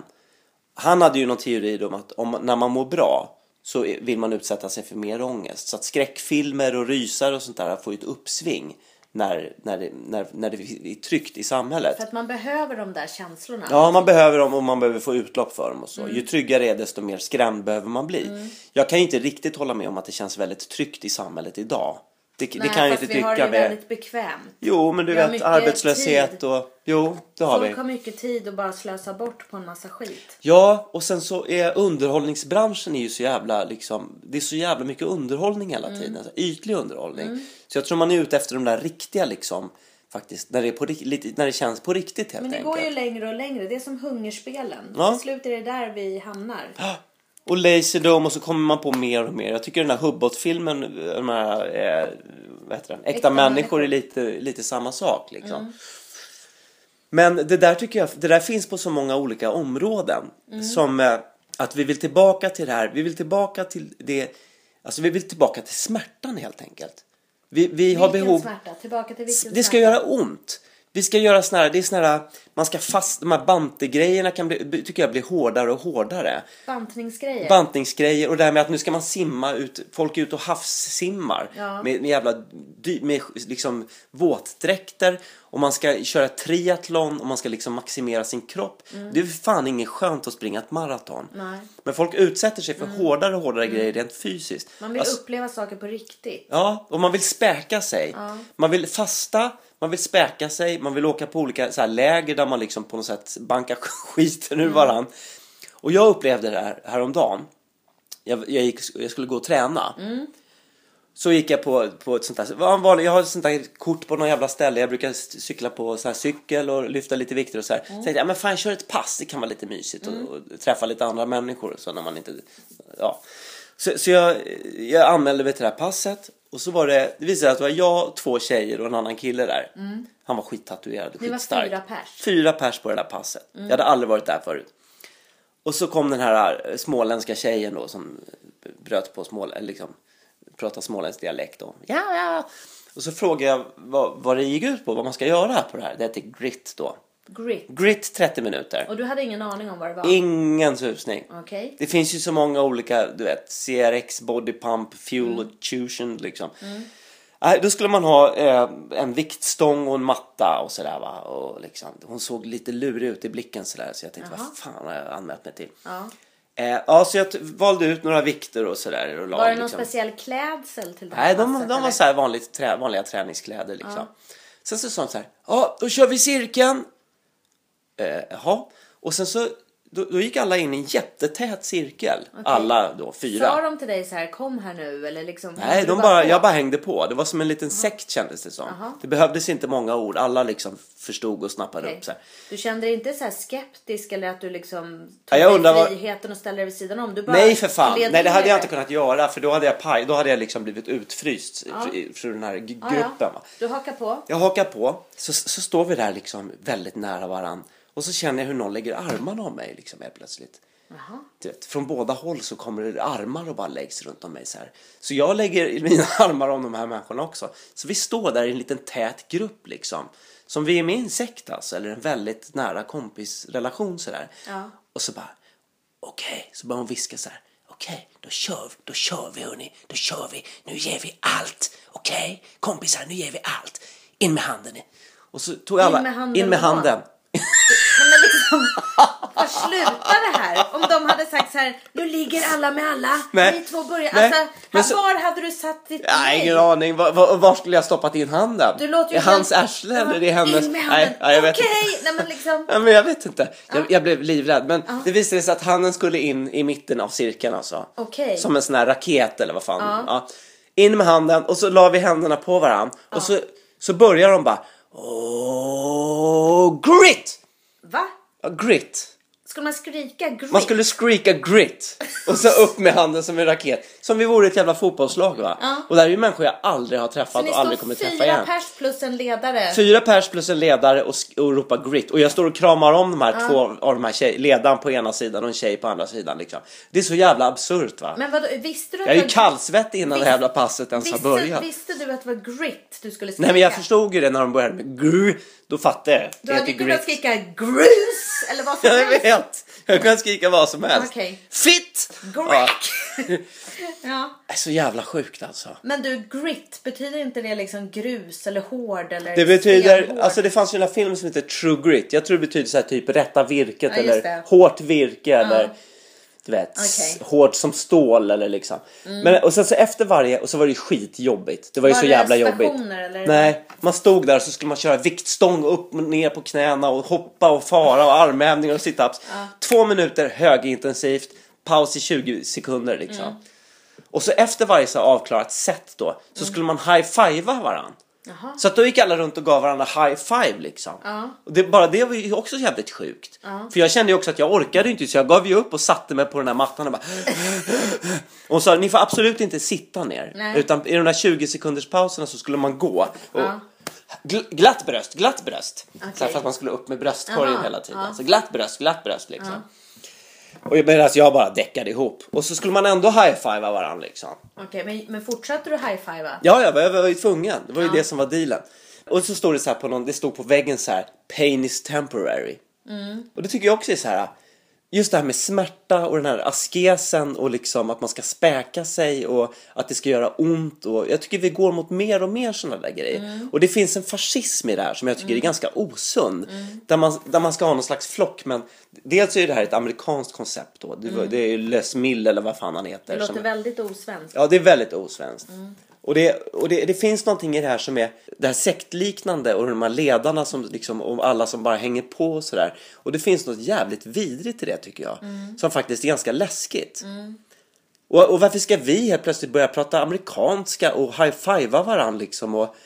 Speaker 1: han hade ju någon teori om att om, när man mår bra så är- vill man utsätta sig för mer ångest. Så att skräckfilmer och rysare och sånt där får ju ett uppsving när, när, det, när, när det är tryggt i samhället.
Speaker 2: För att man behöver de där känslorna.
Speaker 1: Ja, man behöver dem och man behöver få utlopp för dem och så.
Speaker 2: Mm.
Speaker 1: Ju tryggare det är desto mer skrämd behöver man bli. Jag kan ju inte riktigt hålla med om att det känns väldigt tryggt i samhället idag. Det,
Speaker 2: Nej,
Speaker 1: det kan jag
Speaker 2: fast
Speaker 1: inte
Speaker 2: vi har
Speaker 1: tycka.
Speaker 2: det
Speaker 1: Med...
Speaker 2: väldigt bekvämt.
Speaker 1: Jo, men du
Speaker 2: Vi har
Speaker 1: vet
Speaker 2: mycket
Speaker 1: arbetslöshet
Speaker 2: tid.
Speaker 1: och... Jo, det har vi.
Speaker 2: Folk har mycket tid att bara slösa bort på en massa skit.
Speaker 1: Ja, och sen så är underhållningsbranschen är ju så jävla liksom, det är så jävla mycket underhållning hela
Speaker 2: Mm.
Speaker 1: tiden, alltså, ytlig underhållning. Så jag tror man är ute efter de där riktiga liksom, faktiskt, när det, är på, rik- lite, när det känns på riktigt helt
Speaker 2: Men det
Speaker 1: enkelt.
Speaker 2: går ju längre och längre. Det är som hungerspelen.
Speaker 1: Ja.
Speaker 2: Till slut är det där vi hamnar.
Speaker 1: Och Laserdome och så kommer man på mer och mer. Jag tycker den här Hubbard-filmen, de här, eh, vad heter den? Äkta,
Speaker 2: Äkta Mm.
Speaker 1: människor är lite, lite samma sak liksom. Men det där tycker jag, det där finns på så många olika områden.
Speaker 2: Mm.
Speaker 1: Som eh, att vi vill tillbaka till det här, vi vill tillbaka till det, alltså vi vill tillbaka till smärtan helt enkelt. Vi, vi har
Speaker 2: Vilken
Speaker 1: behov,
Speaker 2: smärta? Tillbaka till vilken
Speaker 1: det ska
Speaker 2: smärta?
Speaker 1: göra ont. Vi ska göra såna här, det är såna här, man ska fast, de här bantegrejerna kan bli, by- tycker jag blir hårdare och hårdare.
Speaker 2: Bantningsgrejer.
Speaker 1: Eh. Bantningsgrejer och det här med att nu ska man simma ut, folk är ute och havssimmar
Speaker 2: Ja.
Speaker 1: med, med jävla, dy- med liksom våtdräkter och man ska köra triathlon och man ska liksom maximera sin kropp. Det är för fan inget skönt att springa ett maraton.
Speaker 2: Mm. Nej. Mm.
Speaker 1: Men folk utsätter sig för hårdare och hårdare grejer rent fysiskt.
Speaker 2: Man vill
Speaker 1: Alltså-
Speaker 2: uppleva saker på riktigt.
Speaker 1: Ja, och man vill späka sig. Man vill fasta, man vill späka sig, man vill åka på olika så här läger där man liksom på något sätt bankar skiten ur
Speaker 2: Mm.
Speaker 1: varann. Och jag upplevde det här häromdagen. Jag, jag, gick, jag skulle gå och träna.
Speaker 2: Mm.
Speaker 1: Så gick jag på, på ett sånt där, vad var det? jag har ett sånt där kort på någon jävla ställe, jag brukar c- cykla på sån här cykel och lyfta lite vikter och så
Speaker 2: Mm.
Speaker 1: här. Så tänkte jag, men fan jag kör ett pass, det kan vara lite mysigt och, och träffa lite andra människor och så när man inte, ja. Så, så jag, jag anmälde mig till det här passet och så var det, det visade sig att det var jag, två tjejer och en annan kille där. Han var skittatuerad,
Speaker 2: Mm. Ni var
Speaker 1: skitstark.
Speaker 2: fyra pers. Mm.
Speaker 1: Fyra pers på det där passet. Jag hade aldrig varit där förut. Och så kom den här eh, småländska tjejen då som eh, bröt på smål, eller liksom pratade småländsk dialekt då. Ja, ja. Och så frågade jag vad, vad det gick ut på, vad man ska göra på det här. Det heter grit då.
Speaker 2: Grit.
Speaker 1: Grit 30 minuter.
Speaker 2: Och du hade ingen aning om vad det var?
Speaker 1: Ingen susning.
Speaker 2: Okej.
Speaker 1: Det finns ju så många olika, du vet, CRX, body pump, fuel tuition liksom. Nej, då skulle man ha eh, en viktstång och en matta och sådär va. Och liksom, hon såg lite lurig ut i blicken sådär så jag tänkte
Speaker 2: Jaha.
Speaker 1: vad fan har jag anmält mig till?
Speaker 2: Ja.
Speaker 1: Eh, ja, så jag t- valde ut några vikter och sådär. Och la,
Speaker 2: Var det någon
Speaker 1: liksom.
Speaker 2: speciell klädsel till det här
Speaker 1: Nej, de, de
Speaker 2: passet,
Speaker 1: var
Speaker 2: eller?
Speaker 1: så här vanligt, trä, vanliga träningskläder liksom. Sen så sa de så här, ja då kör vi cirkeln. Eh, Jaha. Och sen så då, då gick alla in i en jättetät cirkel. Alla då, fyra.
Speaker 2: Sa de till dig så här, kom här nu eller liksom?
Speaker 1: Nej, de
Speaker 2: du
Speaker 1: bara,
Speaker 2: på?
Speaker 1: jag bara hängde på. Det var som en liten sekt kändes det som.
Speaker 2: Jaha.
Speaker 1: Det behövdes inte många ord. Alla liksom förstod och snappade
Speaker 2: Okej.
Speaker 1: upp. Så här.
Speaker 2: Du kände dig inte så här skeptisk eller att du liksom
Speaker 1: Ja,
Speaker 2: tog
Speaker 1: jag
Speaker 2: dig
Speaker 1: undrar vad-
Speaker 2: friheten och ställde dig vid sidan om? Du bara
Speaker 1: Nej för fan,
Speaker 2: gled
Speaker 1: nej det
Speaker 2: in
Speaker 1: hade
Speaker 2: i
Speaker 1: jag inte kunnat göra för då hade jag paj, då hade jag liksom blivit utfryst
Speaker 2: Ja.
Speaker 1: fr- från den här g-
Speaker 2: Ja,
Speaker 1: gruppen.
Speaker 2: ja.
Speaker 1: va.
Speaker 2: Du hakar på.
Speaker 1: Jag hakar på, så, så står vi där liksom väldigt nära varann och så känner jag hur någon lägger armarna om mig liksom helt plötsligt.
Speaker 2: Jaha.
Speaker 1: Du vet, från båda håll så kommer det armar och bara läggs runt om mig så här. Så jag lägger mina armar om de här människorna också. Så vi står där i en liten tät grupp liksom. Som vi är med i en sekt alltså, eller en väldigt nära kompisrelation sådär.
Speaker 2: Ja.
Speaker 1: Och så bara, okej, så börjar hon viska så här. Okej, då kör vi, då kör vi hörni, då kör vi, nu ger vi allt, okej? Kompisar, nu ger vi allt. In med handen. Och så tog alla,
Speaker 2: med handen
Speaker 1: in med
Speaker 2: vad?
Speaker 1: handen.
Speaker 2: Nej, men liksom, vad slutar det här? Om de hade sagt så här, nu ligger alla med alla.
Speaker 1: Nej.
Speaker 2: Ni två börjar.
Speaker 1: Nej.
Speaker 2: Alltså,
Speaker 1: Men
Speaker 2: här,
Speaker 1: så-
Speaker 2: var hade du satt ditt
Speaker 1: Jag har
Speaker 2: nej?
Speaker 1: ingen aning. Var, var, var skulle jag stoppat in handen?
Speaker 2: Du låter ju
Speaker 1: I hans
Speaker 2: helt-
Speaker 1: arsle eller i hennes?
Speaker 2: In med handen.
Speaker 1: Nej, nej, jag vet
Speaker 2: Okej,
Speaker 1: inte.
Speaker 2: nej men liksom.
Speaker 1: Nej, men jag vet inte. Jag, jag blev livrädd. Men det visade sig att handen skulle in i mitten av cirkeln alltså.
Speaker 2: Okej.
Speaker 1: Som en sån här raket eller vad fan. Ja. In med handen och så la vi händerna på varandra. Och så, så börjar de bara. Åh, grit!
Speaker 2: Va?
Speaker 1: Ja, grit.
Speaker 2: Skulle man skrika grit?
Speaker 1: Man skulle skrika grit och så upp med handen som en raket. Som vi vore ett jävla fotbollslag va?
Speaker 2: Ja.
Speaker 1: Och det här är ju människor jag aldrig har
Speaker 2: Så
Speaker 1: träffat
Speaker 2: ni
Speaker 1: och
Speaker 2: står
Speaker 1: aldrig kommer träffa
Speaker 2: fyra
Speaker 1: igen.
Speaker 2: pers plus en ledare.
Speaker 1: Fyra pers plus en ledare och, sk- och ropar grit. Och jag står och kramar om de här två av de här tjej- ledaren på ena sidan och en tjej på andra sidan. Liksom. Det är så jävla absurt va?
Speaker 2: Men vadå, visste du att
Speaker 1: jag är ju
Speaker 2: det-
Speaker 1: kallsvettig innan
Speaker 2: Visst-
Speaker 1: det jävla passet ens har
Speaker 2: Visste,
Speaker 1: börjat.
Speaker 2: visste du att det var grit du skulle skrika?
Speaker 1: Nej men jag förstod ju det när de började med gru. Då fattade jag.
Speaker 2: Du
Speaker 1: Det
Speaker 2: hade ju
Speaker 1: heter
Speaker 2: kunnat
Speaker 1: grit.
Speaker 2: skrika grus eller vad som
Speaker 1: Jag
Speaker 2: helst.
Speaker 1: vet! Jag kan skrika vad som helst.
Speaker 2: Okej.
Speaker 1: Fitt! Ja.
Speaker 2: Grack! ja.
Speaker 1: Det är så jävla sjukt alltså.
Speaker 2: Men du, grit, betyder inte det liksom grus eller hård eller
Speaker 1: Det betyder,
Speaker 2: stenhård?
Speaker 1: alltså det fanns ju en film som heter True Grit. Jag tror det betyder så här typ rätta virket
Speaker 2: Ja, just
Speaker 1: eller
Speaker 2: det.
Speaker 1: hårt virke eller du vet, s-
Speaker 2: Okej. Mm.
Speaker 1: hårt som stål eller liksom. Men, och sen så efter varje, och så var det ju skitjobbigt. Det var, ju
Speaker 2: Var
Speaker 1: så
Speaker 2: det
Speaker 1: jävla
Speaker 2: stationer
Speaker 1: jobbigt.
Speaker 2: eller?
Speaker 1: Nej, man stod där och så skulle man köra viktstång upp och ner på knäna och hoppa och fara och armhävningar och situps. Två minuter högintensivt, paus i 20 sekunder liksom.
Speaker 2: Mm.
Speaker 1: Och så efter varje så här avklarat set då, så skulle man high-fivea varandra.
Speaker 2: Jaha.
Speaker 1: Så att då gick alla runt och gav varandra high five liksom.
Speaker 2: Ja.
Speaker 1: Och det, bara det var ju också jävligt sjukt. För jag kände ju också att jag orkade ju inte så jag gav ju upp och satte mig på den här mattan och bara Och hon sa ni får absolut inte sitta ner.
Speaker 2: Nej.
Speaker 1: Utan i de där 20 sekunders pauserna så skulle man gå. Och gl- glatt bröst, glatt bröst. Så här för att man skulle upp med bröstkorgen
Speaker 2: Aha,
Speaker 1: hela tiden.
Speaker 2: ja.
Speaker 1: Så glatt bröst, glatt bröst liksom. Och medan jag bara däckade ihop. Och så skulle man ändå high-fivea varandra liksom.
Speaker 2: Okej, men, men fortsatte du high-fivea?
Speaker 1: Ja, ja, jag var ju tvungen. Det var ju det som var dealen. Och så står det så här på någon, det stod på väggen så här, pain is temporary.
Speaker 2: Mm.
Speaker 1: Och det tycker jag också är så här, just det här med smärta och den här askesen och liksom att man ska späka sig och att det ska göra ont och jag tycker vi går mot mer och mer sådana där grejer.
Speaker 2: Mm.
Speaker 1: Och det finns en fascism i det här som jag tycker är ganska osund.
Speaker 2: Mm.
Speaker 1: Där, man, där man ska ha någon slags flock men dels är det här ett amerikanskt koncept då. Det, var- det är ju Les Mille eller vad fan han heter.
Speaker 2: Mm. Det
Speaker 1: som-
Speaker 2: låter väldigt osvenskt.
Speaker 1: Ja, det är väldigt osvenskt.
Speaker 2: Mm.
Speaker 1: Och, det, och det, det finns någonting i det här som är det här sektliknande och de här ledarna som liksom, och alla som bara hänger på och sådär. Och det finns något jävligt vidrigt i det tycker jag.
Speaker 2: Mm.
Speaker 1: Som faktiskt är ganska läskigt. Och, och varför ska vi helt plötsligt börja prata amerikanska och high-fivea varandra liksom? Och,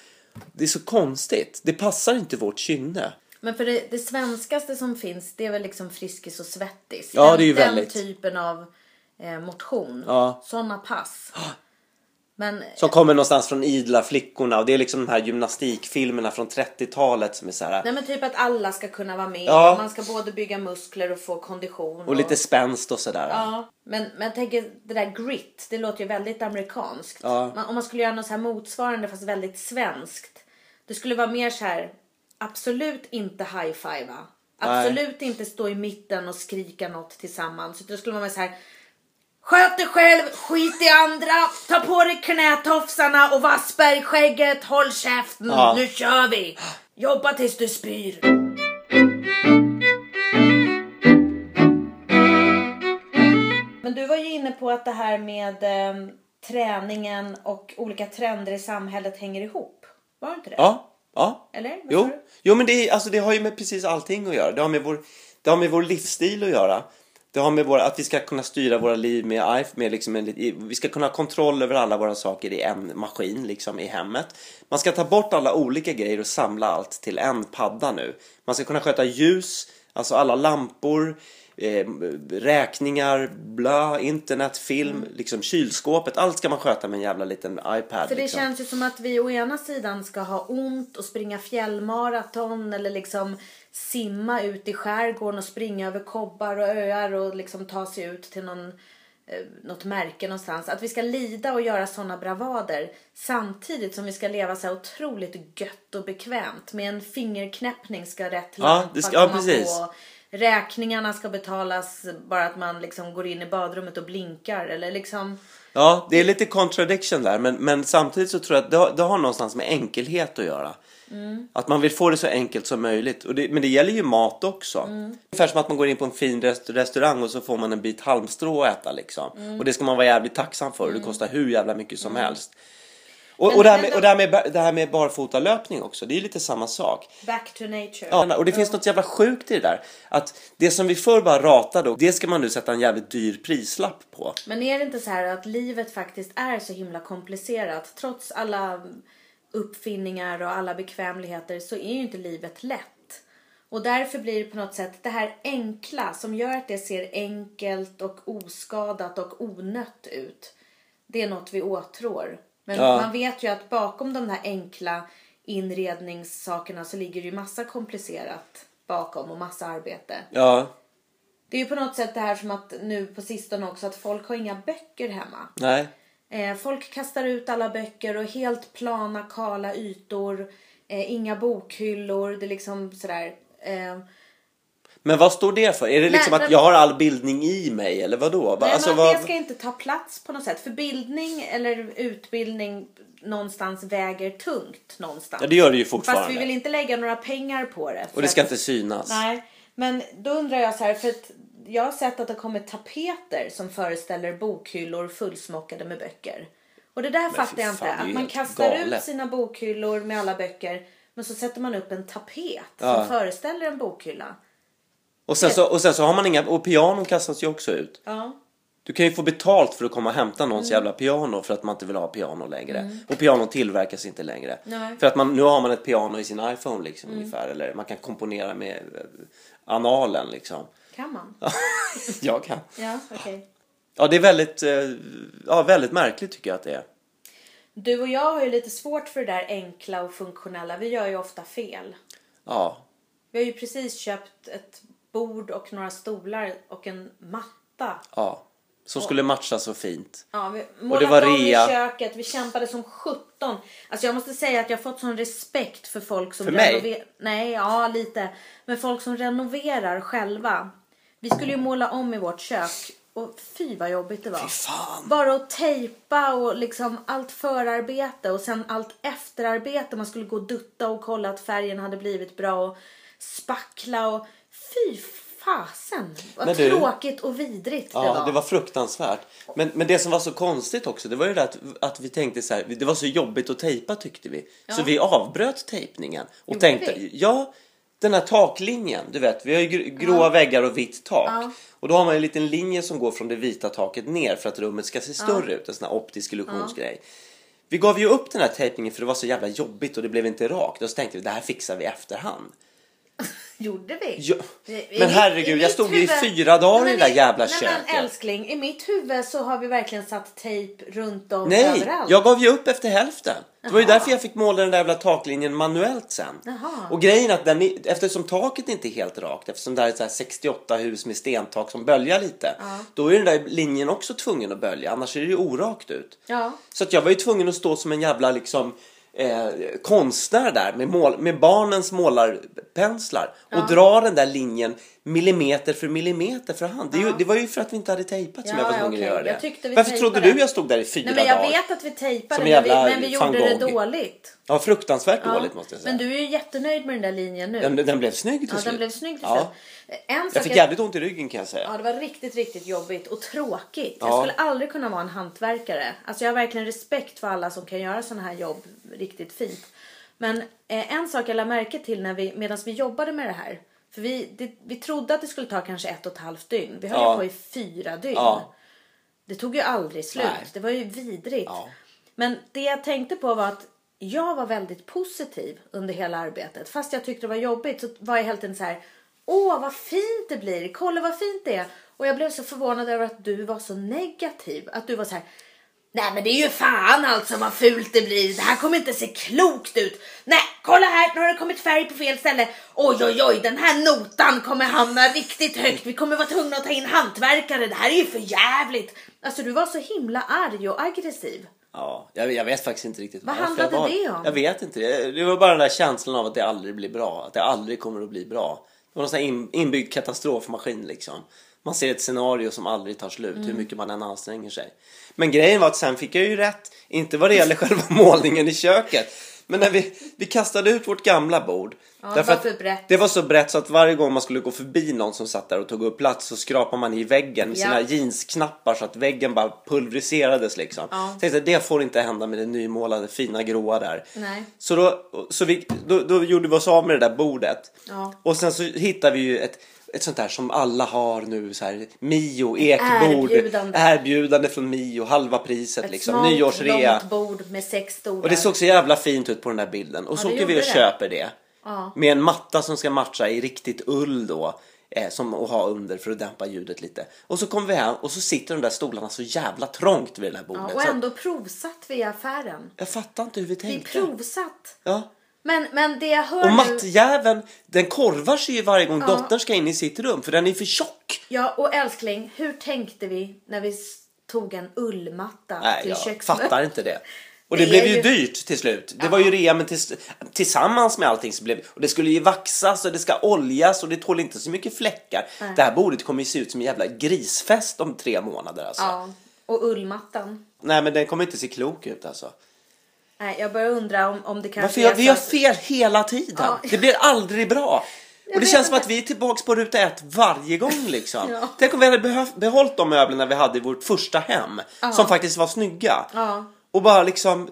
Speaker 1: det är så konstigt. Det passar inte vårt kynne.
Speaker 2: Men för det, det svenskaste som finns det är väl liksom Friskis och Svettis.
Speaker 1: Ja,
Speaker 2: Den-
Speaker 1: det är ju
Speaker 2: den
Speaker 1: väldigt-
Speaker 2: typen av eh, motion.
Speaker 1: Ja. Ah.
Speaker 2: Sådana pass. Men
Speaker 1: Som kommer någonstans från idla flickorna och det är liksom de här gymnastikfilmerna från 30-talet som är så här.
Speaker 2: nej men typ att alla ska kunna vara med.
Speaker 1: Ja.
Speaker 2: Man ska både bygga muskler och få kondition.
Speaker 1: Och lite spänst och sådär.
Speaker 2: Ja. Men, men jag tänker det där grit, det låter ju väldigt amerikanskt.
Speaker 1: Ja.
Speaker 2: Man, om man skulle göra något så här motsvarande fast väldigt svenskt. Det skulle vara mer så här, absolut inte high-fivea. Absolut inte stå i mitten och skrika något tillsammans. Utan det skulle vara mer så här, sköt dig själv, skit i andra, ta på dig knätofsarna och vass skägget, håll käften,
Speaker 1: Ja.
Speaker 2: nu kör vi. Jobba tills du spyr. Men du var ju inne på att det här med eh, träningen och olika trender i samhället hänger ihop. Var det inte det?
Speaker 1: Ja, ja.
Speaker 2: Eller? Vad sa
Speaker 1: Jo,
Speaker 2: du?
Speaker 1: jo men det, är, alltså, det har ju med precis allting att göra. Det har med vår, det har med vår livsstil att göra. Det har med vår, att vi ska kunna styra våra liv med, iPh- med liksom en, i- vi ska kunna ha kontroll över alla våra saker i en maskin liksom, i hemmet. Man ska ta bort alla olika grejer och samla allt till en padda nu. Man ska kunna sköta ljus, alltså alla lampor, eh, räkningar, bla, internet, film,
Speaker 2: Mm.
Speaker 1: liksom kylskåpet. Allt ska man sköta med en jävla liten iPad.
Speaker 2: För det
Speaker 1: liksom.
Speaker 2: känns ju som att vi å ena sidan ska ha ont och springa fjällmaraton eller liksom simma ut i skärgården och springa över kobbar och öar och liksom ta sig ut till någon, eh, något märke någonstans. Att vi ska lida och göra sådana bravader samtidigt som vi ska leva så här otroligt gött och bekvämt. Med en fingerknäppning ska rätt
Speaker 1: Ja,
Speaker 2: lampa
Speaker 1: det ska- ja,
Speaker 2: komma
Speaker 1: precis.
Speaker 2: på. Räkningarna ska betalas bara att man liksom går in i badrummet och blinkar eller liksom
Speaker 1: Ja, det är lite contradiction där, men, men samtidigt så tror jag att det har, det har någonstans med enkelhet att göra. Att man vill få det så enkelt som möjligt. Och det, men det gäller ju mat också. Ungefär som att man går in på en fin rest, restaurang och så får man en bit halmstrå att äta liksom. Och det ska man vara jävligt tacksam för. Det kostar hur jävla mycket som helst. Och,
Speaker 2: Men-
Speaker 1: och, Mm. det, här med,
Speaker 2: men då-
Speaker 1: och det, här med, ba- det här med barfotalöpning också, det är ju lite samma sak.
Speaker 2: back to nature.
Speaker 1: Ja, och det finns något jävla sjukt i det där. Att det som vi förr bara ratade, det ska man nu sätta en jävligt dyr prislapp på.
Speaker 2: Men är det inte så här att livet faktiskt är så himla komplicerat? Trots alla uppfinningar och alla bekvämligheter så är ju inte livet lätt. Och därför blir det på något sätt det här enkla som gör att det ser enkelt och oskadat och onött ut. Det är något vi åtrår. Men
Speaker 1: Ja.
Speaker 2: man vet ju att bakom de här enkla inredningssakerna så ligger ju massa komplicerat bakom och massa arbete.
Speaker 1: Ja,
Speaker 2: Det är ju på något sätt det här som att nu på sistone också att folk har inga böcker hemma.
Speaker 1: nej.
Speaker 2: Eh, folk kastar ut alla böcker och helt plana kala ytor. Eh, inga bokhyllor. Det är liksom sådär. Eh,
Speaker 1: Men vad står det för? Är det liksom
Speaker 2: Nej,
Speaker 1: att
Speaker 2: men-
Speaker 1: jag har all bildning i mig eller vadå? Va-
Speaker 2: nej,
Speaker 1: alltså,
Speaker 2: men
Speaker 1: vad...
Speaker 2: Det ska inte ta plats på något sätt. För bildning eller utbildning någonstans väger tungt någonstans.
Speaker 1: Ja, det gör det ju
Speaker 2: Fast vi
Speaker 1: fortfarande.
Speaker 2: vill inte lägga några pengar på det.
Speaker 1: Och
Speaker 2: för
Speaker 1: det ska
Speaker 2: att-
Speaker 1: inte synas.
Speaker 2: Nej, men då undrar jag så här för att jag har sett att det kommer tapeter som föreställer bokhyllor fullsmockade med böcker. Och det där fattar jag
Speaker 1: fan,
Speaker 2: inte.
Speaker 1: det är ju
Speaker 2: Att man
Speaker 1: helt
Speaker 2: kastar ut
Speaker 1: galet.
Speaker 2: sina bokhyllor med alla böcker men så sätter man upp en tapet
Speaker 1: Ja.
Speaker 2: som föreställer en bokhylla.
Speaker 1: Och, sen så, och sen så har man inga... Och pianon kastas ju också ut.
Speaker 2: Ja.
Speaker 1: Du kan ju få betalt för att komma och hämta någons
Speaker 2: Mm.
Speaker 1: jävla piano för att man inte vill ha piano längre. Och piano tillverkas inte längre.
Speaker 2: Nej. Mm.
Speaker 1: För att man, nu har man ett piano i sin iPhone liksom ungefär. Eller man kan komponera med eh, analen liksom.
Speaker 2: Kan man?
Speaker 1: jag kan.
Speaker 2: Ja, okej.
Speaker 1: Ja, det är väldigt, eh, ja, väldigt märkligt tycker jag att det är.
Speaker 2: Du och jag har ju lite svårt för det där enkla och funktionella. Vi gör ju ofta fel.
Speaker 1: Ja,
Speaker 2: Vi har ju precis köpt ett bord och några stolar och en matta
Speaker 1: ja. Som skulle matcha så fint.
Speaker 2: Ja, vi
Speaker 1: Och det
Speaker 2: målade
Speaker 1: var
Speaker 2: om
Speaker 1: rea.
Speaker 2: i köket, vi kämpade som 17. Alltså jag måste säga att jag har fått sån respekt för folk som
Speaker 1: För mig?
Speaker 2: renover- Nej, ja lite. Men folk som renoverar själva. Vi skulle
Speaker 1: Mm.
Speaker 2: ju måla om i vårt kök och fy vad jobbigt det var.
Speaker 1: fan.
Speaker 2: Bara att tejpa och liksom allt förarbete och sen allt efterarbete. Man skulle gå och dutta och kolla att färgen hade blivit bra och spackla och fy fasen
Speaker 1: Men
Speaker 2: vad
Speaker 1: du-
Speaker 2: tråkigt och vidrigt det
Speaker 1: Ja, det var fruktansvärt. Men, men det som var så konstigt också, det var ju det att, att vi tänkte så här, det var så jobbigt att tejpa tyckte vi. Så vi avbröt tejpningen och
Speaker 2: Gjorde
Speaker 1: tänkte,
Speaker 2: vi?
Speaker 1: ja, den här taklinjen, du vet, vi har ju gr- gråa väggar och vitt tak.
Speaker 2: Ja.
Speaker 1: Och då har man en liten linje som går från det vita taket ner för att rummet ska se större ut, en sån här optisk illusionsgrej. Vi gav ju upp den här tejpningen för det var så jävla jobbigt och det blev inte rakt. Och så tänkte vi, det här fixar vi i efterhand.
Speaker 2: Gjorde vi?
Speaker 1: Ja,
Speaker 2: I-
Speaker 1: men
Speaker 2: i-
Speaker 1: herregud,
Speaker 2: i
Speaker 1: jag
Speaker 2: mitt
Speaker 1: stod ju i
Speaker 2: huvud-
Speaker 1: fyra dagar i
Speaker 2: Nej,
Speaker 1: det där
Speaker 2: men
Speaker 1: jävla
Speaker 2: nej,
Speaker 1: köket.
Speaker 2: Men älskling, i mitt huvud så har vi verkligen satt tejp runt om
Speaker 1: Nej,
Speaker 2: överallt.
Speaker 1: jag gav ju upp efter hälften. Det var ju
Speaker 2: Jaha.
Speaker 1: därför jag fick måla den där jävla taklinjen manuellt sen.
Speaker 2: Jaha.
Speaker 1: Och grejen är att den, är- eftersom taket inte är helt rakt, eftersom det här är så här 68 hus med stentak som böljar lite, då är den där linjen också tvungen att bölja, annars ser det ju orakt ut.
Speaker 2: Ja.
Speaker 1: Så att jag var ju tvungen att stå som en jävla liksom Eh, konstnär där med, mål, med barnens målarpenslar och dra den där linjen millimeter för millimeter för hand. Det, är ju, det var ju för att vi inte hade tejpat som
Speaker 2: Ja,
Speaker 1: jag var tvungen
Speaker 2: okej.
Speaker 1: att göra det.
Speaker 2: Jag tyckte vi
Speaker 1: Varför trodde
Speaker 2: tejpade.
Speaker 1: du jag stod där i fyra
Speaker 2: Nej, men jag
Speaker 1: dagar?
Speaker 2: vet att vi tejpade
Speaker 1: Som
Speaker 2: men vi,
Speaker 1: jävla
Speaker 2: men vi
Speaker 1: van
Speaker 2: gjorde det
Speaker 1: Gogh.
Speaker 2: dåligt.
Speaker 1: Ja, fruktansvärt dåligt
Speaker 2: Ja.
Speaker 1: måste jag säga.
Speaker 2: Men du är ju jättenöjd med den där linjen nu.
Speaker 1: den, den blev snygg till
Speaker 2: ja,
Speaker 1: slut.
Speaker 2: den blev snygg till
Speaker 1: ja.
Speaker 2: slut. En sak
Speaker 1: Jag fick
Speaker 2: jag-
Speaker 1: jävligt ont i ryggen kan jag säga.
Speaker 2: Ja, det var riktigt, riktigt jobbigt och tråkigt.
Speaker 1: Ja.
Speaker 2: Jag skulle aldrig kunna vara en hantverkare. Alltså jag har verkligen respekt för alla som kan göra sådana här jobb riktigt fint. Men eh, en sak jag lade märke till när vi, medan vi jobbade med det här. För vi, det, vi trodde att det skulle ta kanske ett och ett halvt dygn. Vi höll
Speaker 1: Ja.
Speaker 2: ju på i fyra dygn.
Speaker 1: Ja.
Speaker 2: Det tog ju aldrig slut.
Speaker 1: Nej.
Speaker 2: Det var ju vidrigt.
Speaker 1: Ja.
Speaker 2: Men det jag tänkte på var att jag var väldigt positiv under hela arbetet. Fast jag tyckte det var jobbigt så var jag helt enkelt så här. Åh, vad fint det blir. Kolla vad fint det är. Och jag blev så förvånad över att du var så negativ. Att du var så här. Nej men det är ju fan alltså vad fult det blir. Det här kommer inte se klokt ut. Nej, kolla här, nu har det kommit färg på fel ställe. Oj oj oj, den här notan kommer hamna riktigt högt. Vi kommer vara tvungna att ta in hantverkare. Det här är ju för jävligt. Alltså du var så himla arg och aggressiv.
Speaker 1: Ja, jag, jag vet faktiskt inte riktigt
Speaker 2: Vad
Speaker 1: varför
Speaker 2: handlade
Speaker 1: jag var.
Speaker 2: det om?
Speaker 1: Jag vet inte. Det Det var bara den där känslan av att det aldrig blir bra. Att det aldrig kommer att bli bra. Det var någon sån här in, inbyggd katastrofmaskin liksom. Man ser ett scenario som aldrig tar slut
Speaker 2: Mm.
Speaker 1: hur mycket man än anstränger sig. Men grejen var att sen fick jag ju rätt. Inte vad det gäller själva målningen i köket. Men när vi, vi kastade ut vårt gamla bord.
Speaker 2: det
Speaker 1: därför
Speaker 2: var
Speaker 1: att
Speaker 2: för brett.
Speaker 1: det var så brett så att varje gång man skulle gå förbi någon som satt där och tog upp plats så skrapade man i väggen med
Speaker 2: Ja.
Speaker 1: sina jeansknappar så att väggen bara pulveriserades liksom.
Speaker 2: Ja.
Speaker 1: Så Tänkte, det får inte hända med det nymålade fina gråa där.
Speaker 2: Nej.
Speaker 1: Så, då, så vi, då, då gjorde vi oss av med det där bordet.
Speaker 2: Ja.
Speaker 1: Och sen så hittade vi ju ett, ett sånt där som alla har nu, så här, Mio, ekbord,
Speaker 2: Erbjudande.
Speaker 1: erbjudande från Mio, halva priset
Speaker 2: Ett
Speaker 1: liksom,
Speaker 2: smalt,
Speaker 1: nyårsrea.
Speaker 2: långt bord med sex stolar.
Speaker 1: Och det såg så jävla fint ut på den där bilden. Och så
Speaker 2: det
Speaker 1: åker vi och
Speaker 2: gjorde det.
Speaker 1: köper det.
Speaker 2: Ja.
Speaker 1: Med en matta som ska matcha i riktigt ull då. Eh, som att ha under för att dämpa ljudet lite. Och så kommer vi hem och så sitter de där stolarna så jävla trångt vid det här
Speaker 2: ja,
Speaker 1: bordet.
Speaker 2: och
Speaker 1: så
Speaker 2: ändå provsatt vi i affären.
Speaker 1: Jag fattar inte hur vi
Speaker 2: Vi
Speaker 1: tänkte.
Speaker 2: provsatt.
Speaker 1: Ja.
Speaker 2: Men, men det jag hör
Speaker 1: Och
Speaker 2: nu...
Speaker 1: mattjäveln, den korvar sig ju varje gång dottern ska in i sitt rum för den är för tjock.
Speaker 2: Ja, och älskling, hur tänkte vi när vi s- tog en ullmatta
Speaker 1: Nej,
Speaker 2: till
Speaker 1: jag
Speaker 2: köksmöbeln?
Speaker 1: fattar inte det. Och det,
Speaker 2: Det
Speaker 1: blev
Speaker 2: är
Speaker 1: ju
Speaker 2: ju-
Speaker 1: dyrt till slut. Det var ju rea men tills, tillsammans med allting så blev och det skulle ju vaxas och det ska oljas och det tål inte så mycket fläckar. Det här bordet kommer ju se ut som en jävla grisfest om tre månader alltså.
Speaker 2: Ja, och ullmattan.
Speaker 1: Nej men den kommer inte se klok ut alltså.
Speaker 2: Nej, jag börjar undra om, om det
Speaker 1: Varför
Speaker 2: kanske
Speaker 1: gör, vi
Speaker 2: så
Speaker 1: gör
Speaker 2: att-
Speaker 1: fel hela tiden?
Speaker 2: Ja.
Speaker 1: Det blir aldrig bra. Och det
Speaker 2: vet
Speaker 1: känns som
Speaker 2: inte.
Speaker 1: att vi är tillbaks på ruta ett varje gång liksom.
Speaker 2: Ja.
Speaker 1: Tänk om vi hade behövt, behållit de möblerna vi hade i vårt första hem. Som faktiskt var snygga.
Speaker 2: Ja.
Speaker 1: Och bara liksom,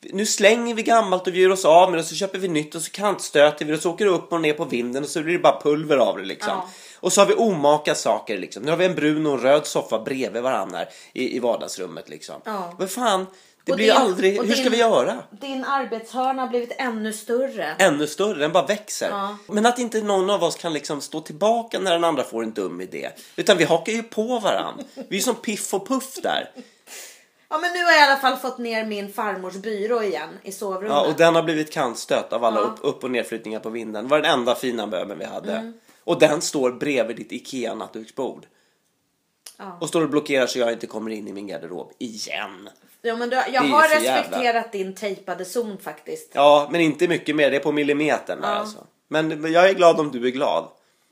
Speaker 1: nu slänger vi gammalt och vi gör oss av med det och så köper vi nytt och så kantstöter vi och så åker det upp och ner på vinden och så blir det bara pulver av det liksom.
Speaker 2: Ja.
Speaker 1: Och så har vi omaka saker liksom. Nu har vi en brun och en röd soffa bredvid varandra här i, i vardagsrummet liksom.
Speaker 2: Ja.
Speaker 1: Vad fan, det
Speaker 2: och
Speaker 1: blir ju
Speaker 2: din-
Speaker 1: aldrig,
Speaker 2: och
Speaker 1: hur ska
Speaker 2: din-
Speaker 1: vi göra?
Speaker 2: Din arbetshörna har blivit ännu större.
Speaker 1: ännu större, den bara växer.
Speaker 2: Ja.
Speaker 1: Men att inte någon av oss kan liksom stå tillbaka när den andra får en dum idé. Utan vi hakar ju på varandra. Vi är som Piff och Puff där.
Speaker 2: Ja, men nu har jag i alla fall fått ner min farmors byrå igen i sovrummet.
Speaker 1: Ja, och den har blivit kantstött av alla
Speaker 2: Ja.
Speaker 1: upp, upp och nedflyttningar på vinden. Det var den
Speaker 2: Mm.
Speaker 1: enda fina möbeln vi hade. Och den står bredvid ditt IKEA-nattduksbord.
Speaker 2: Ja.
Speaker 1: Och står och blockerar så jag inte kommer in i min garderob igen.
Speaker 2: Ja, men du, jag
Speaker 1: är ju
Speaker 2: har
Speaker 1: för jävla.
Speaker 2: respekterat din tejpade zon faktiskt.
Speaker 1: Ja, men inte mycket mer. Det är på millimetern där alltså. Men jag är glad om du är glad.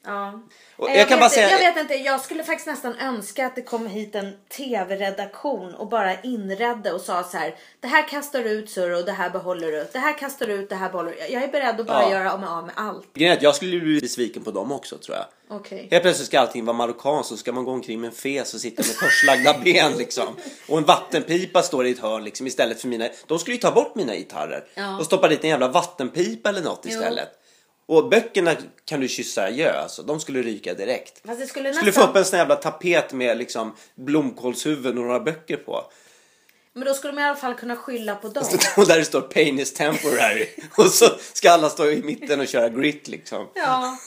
Speaker 2: Ja.
Speaker 1: Och
Speaker 2: Nej,
Speaker 1: jag kan
Speaker 2: vet,
Speaker 1: bara
Speaker 2: inte-
Speaker 1: säga-
Speaker 2: jag vet inte, jag skulle faktiskt nästan önska att det kom hit en tv-redaktion och bara inredde och sa så här. Det här kastar du ut surr och det här behåller du. Det här kastar du ut, det här behåller du. Jag- Jag är beredd att bara
Speaker 1: Ja.
Speaker 2: göra av med, av med allt.
Speaker 1: Grejen är att jag skulle bli besviken på dem också tror jag.
Speaker 2: Okej.
Speaker 1: Helt plötsligt ska allting vara marockanskt och ska man gå omkring med en fes och sitta med korslagda ben liksom. Och en vattenpipa står i ett hörn liksom istället för mina. De skulle ju ta bort mina gitarrer
Speaker 2: Ja.
Speaker 1: och stoppa dit en jävla vattenpipa eller något istället. Och böckerna kan du kyssa adjö alltså. De skulle ryka direkt.
Speaker 2: Fast det skulle
Speaker 1: Skulle få
Speaker 2: nästan-
Speaker 1: upp en sån jävla tapet med liksom blomkålshuvuden och några böcker på.
Speaker 2: Men då skulle man i alla fall kunna skylla på dem.
Speaker 1: Och där det står pain is temporary. Och så ska alla stå i mitten och köra grit liksom.
Speaker 2: Ja,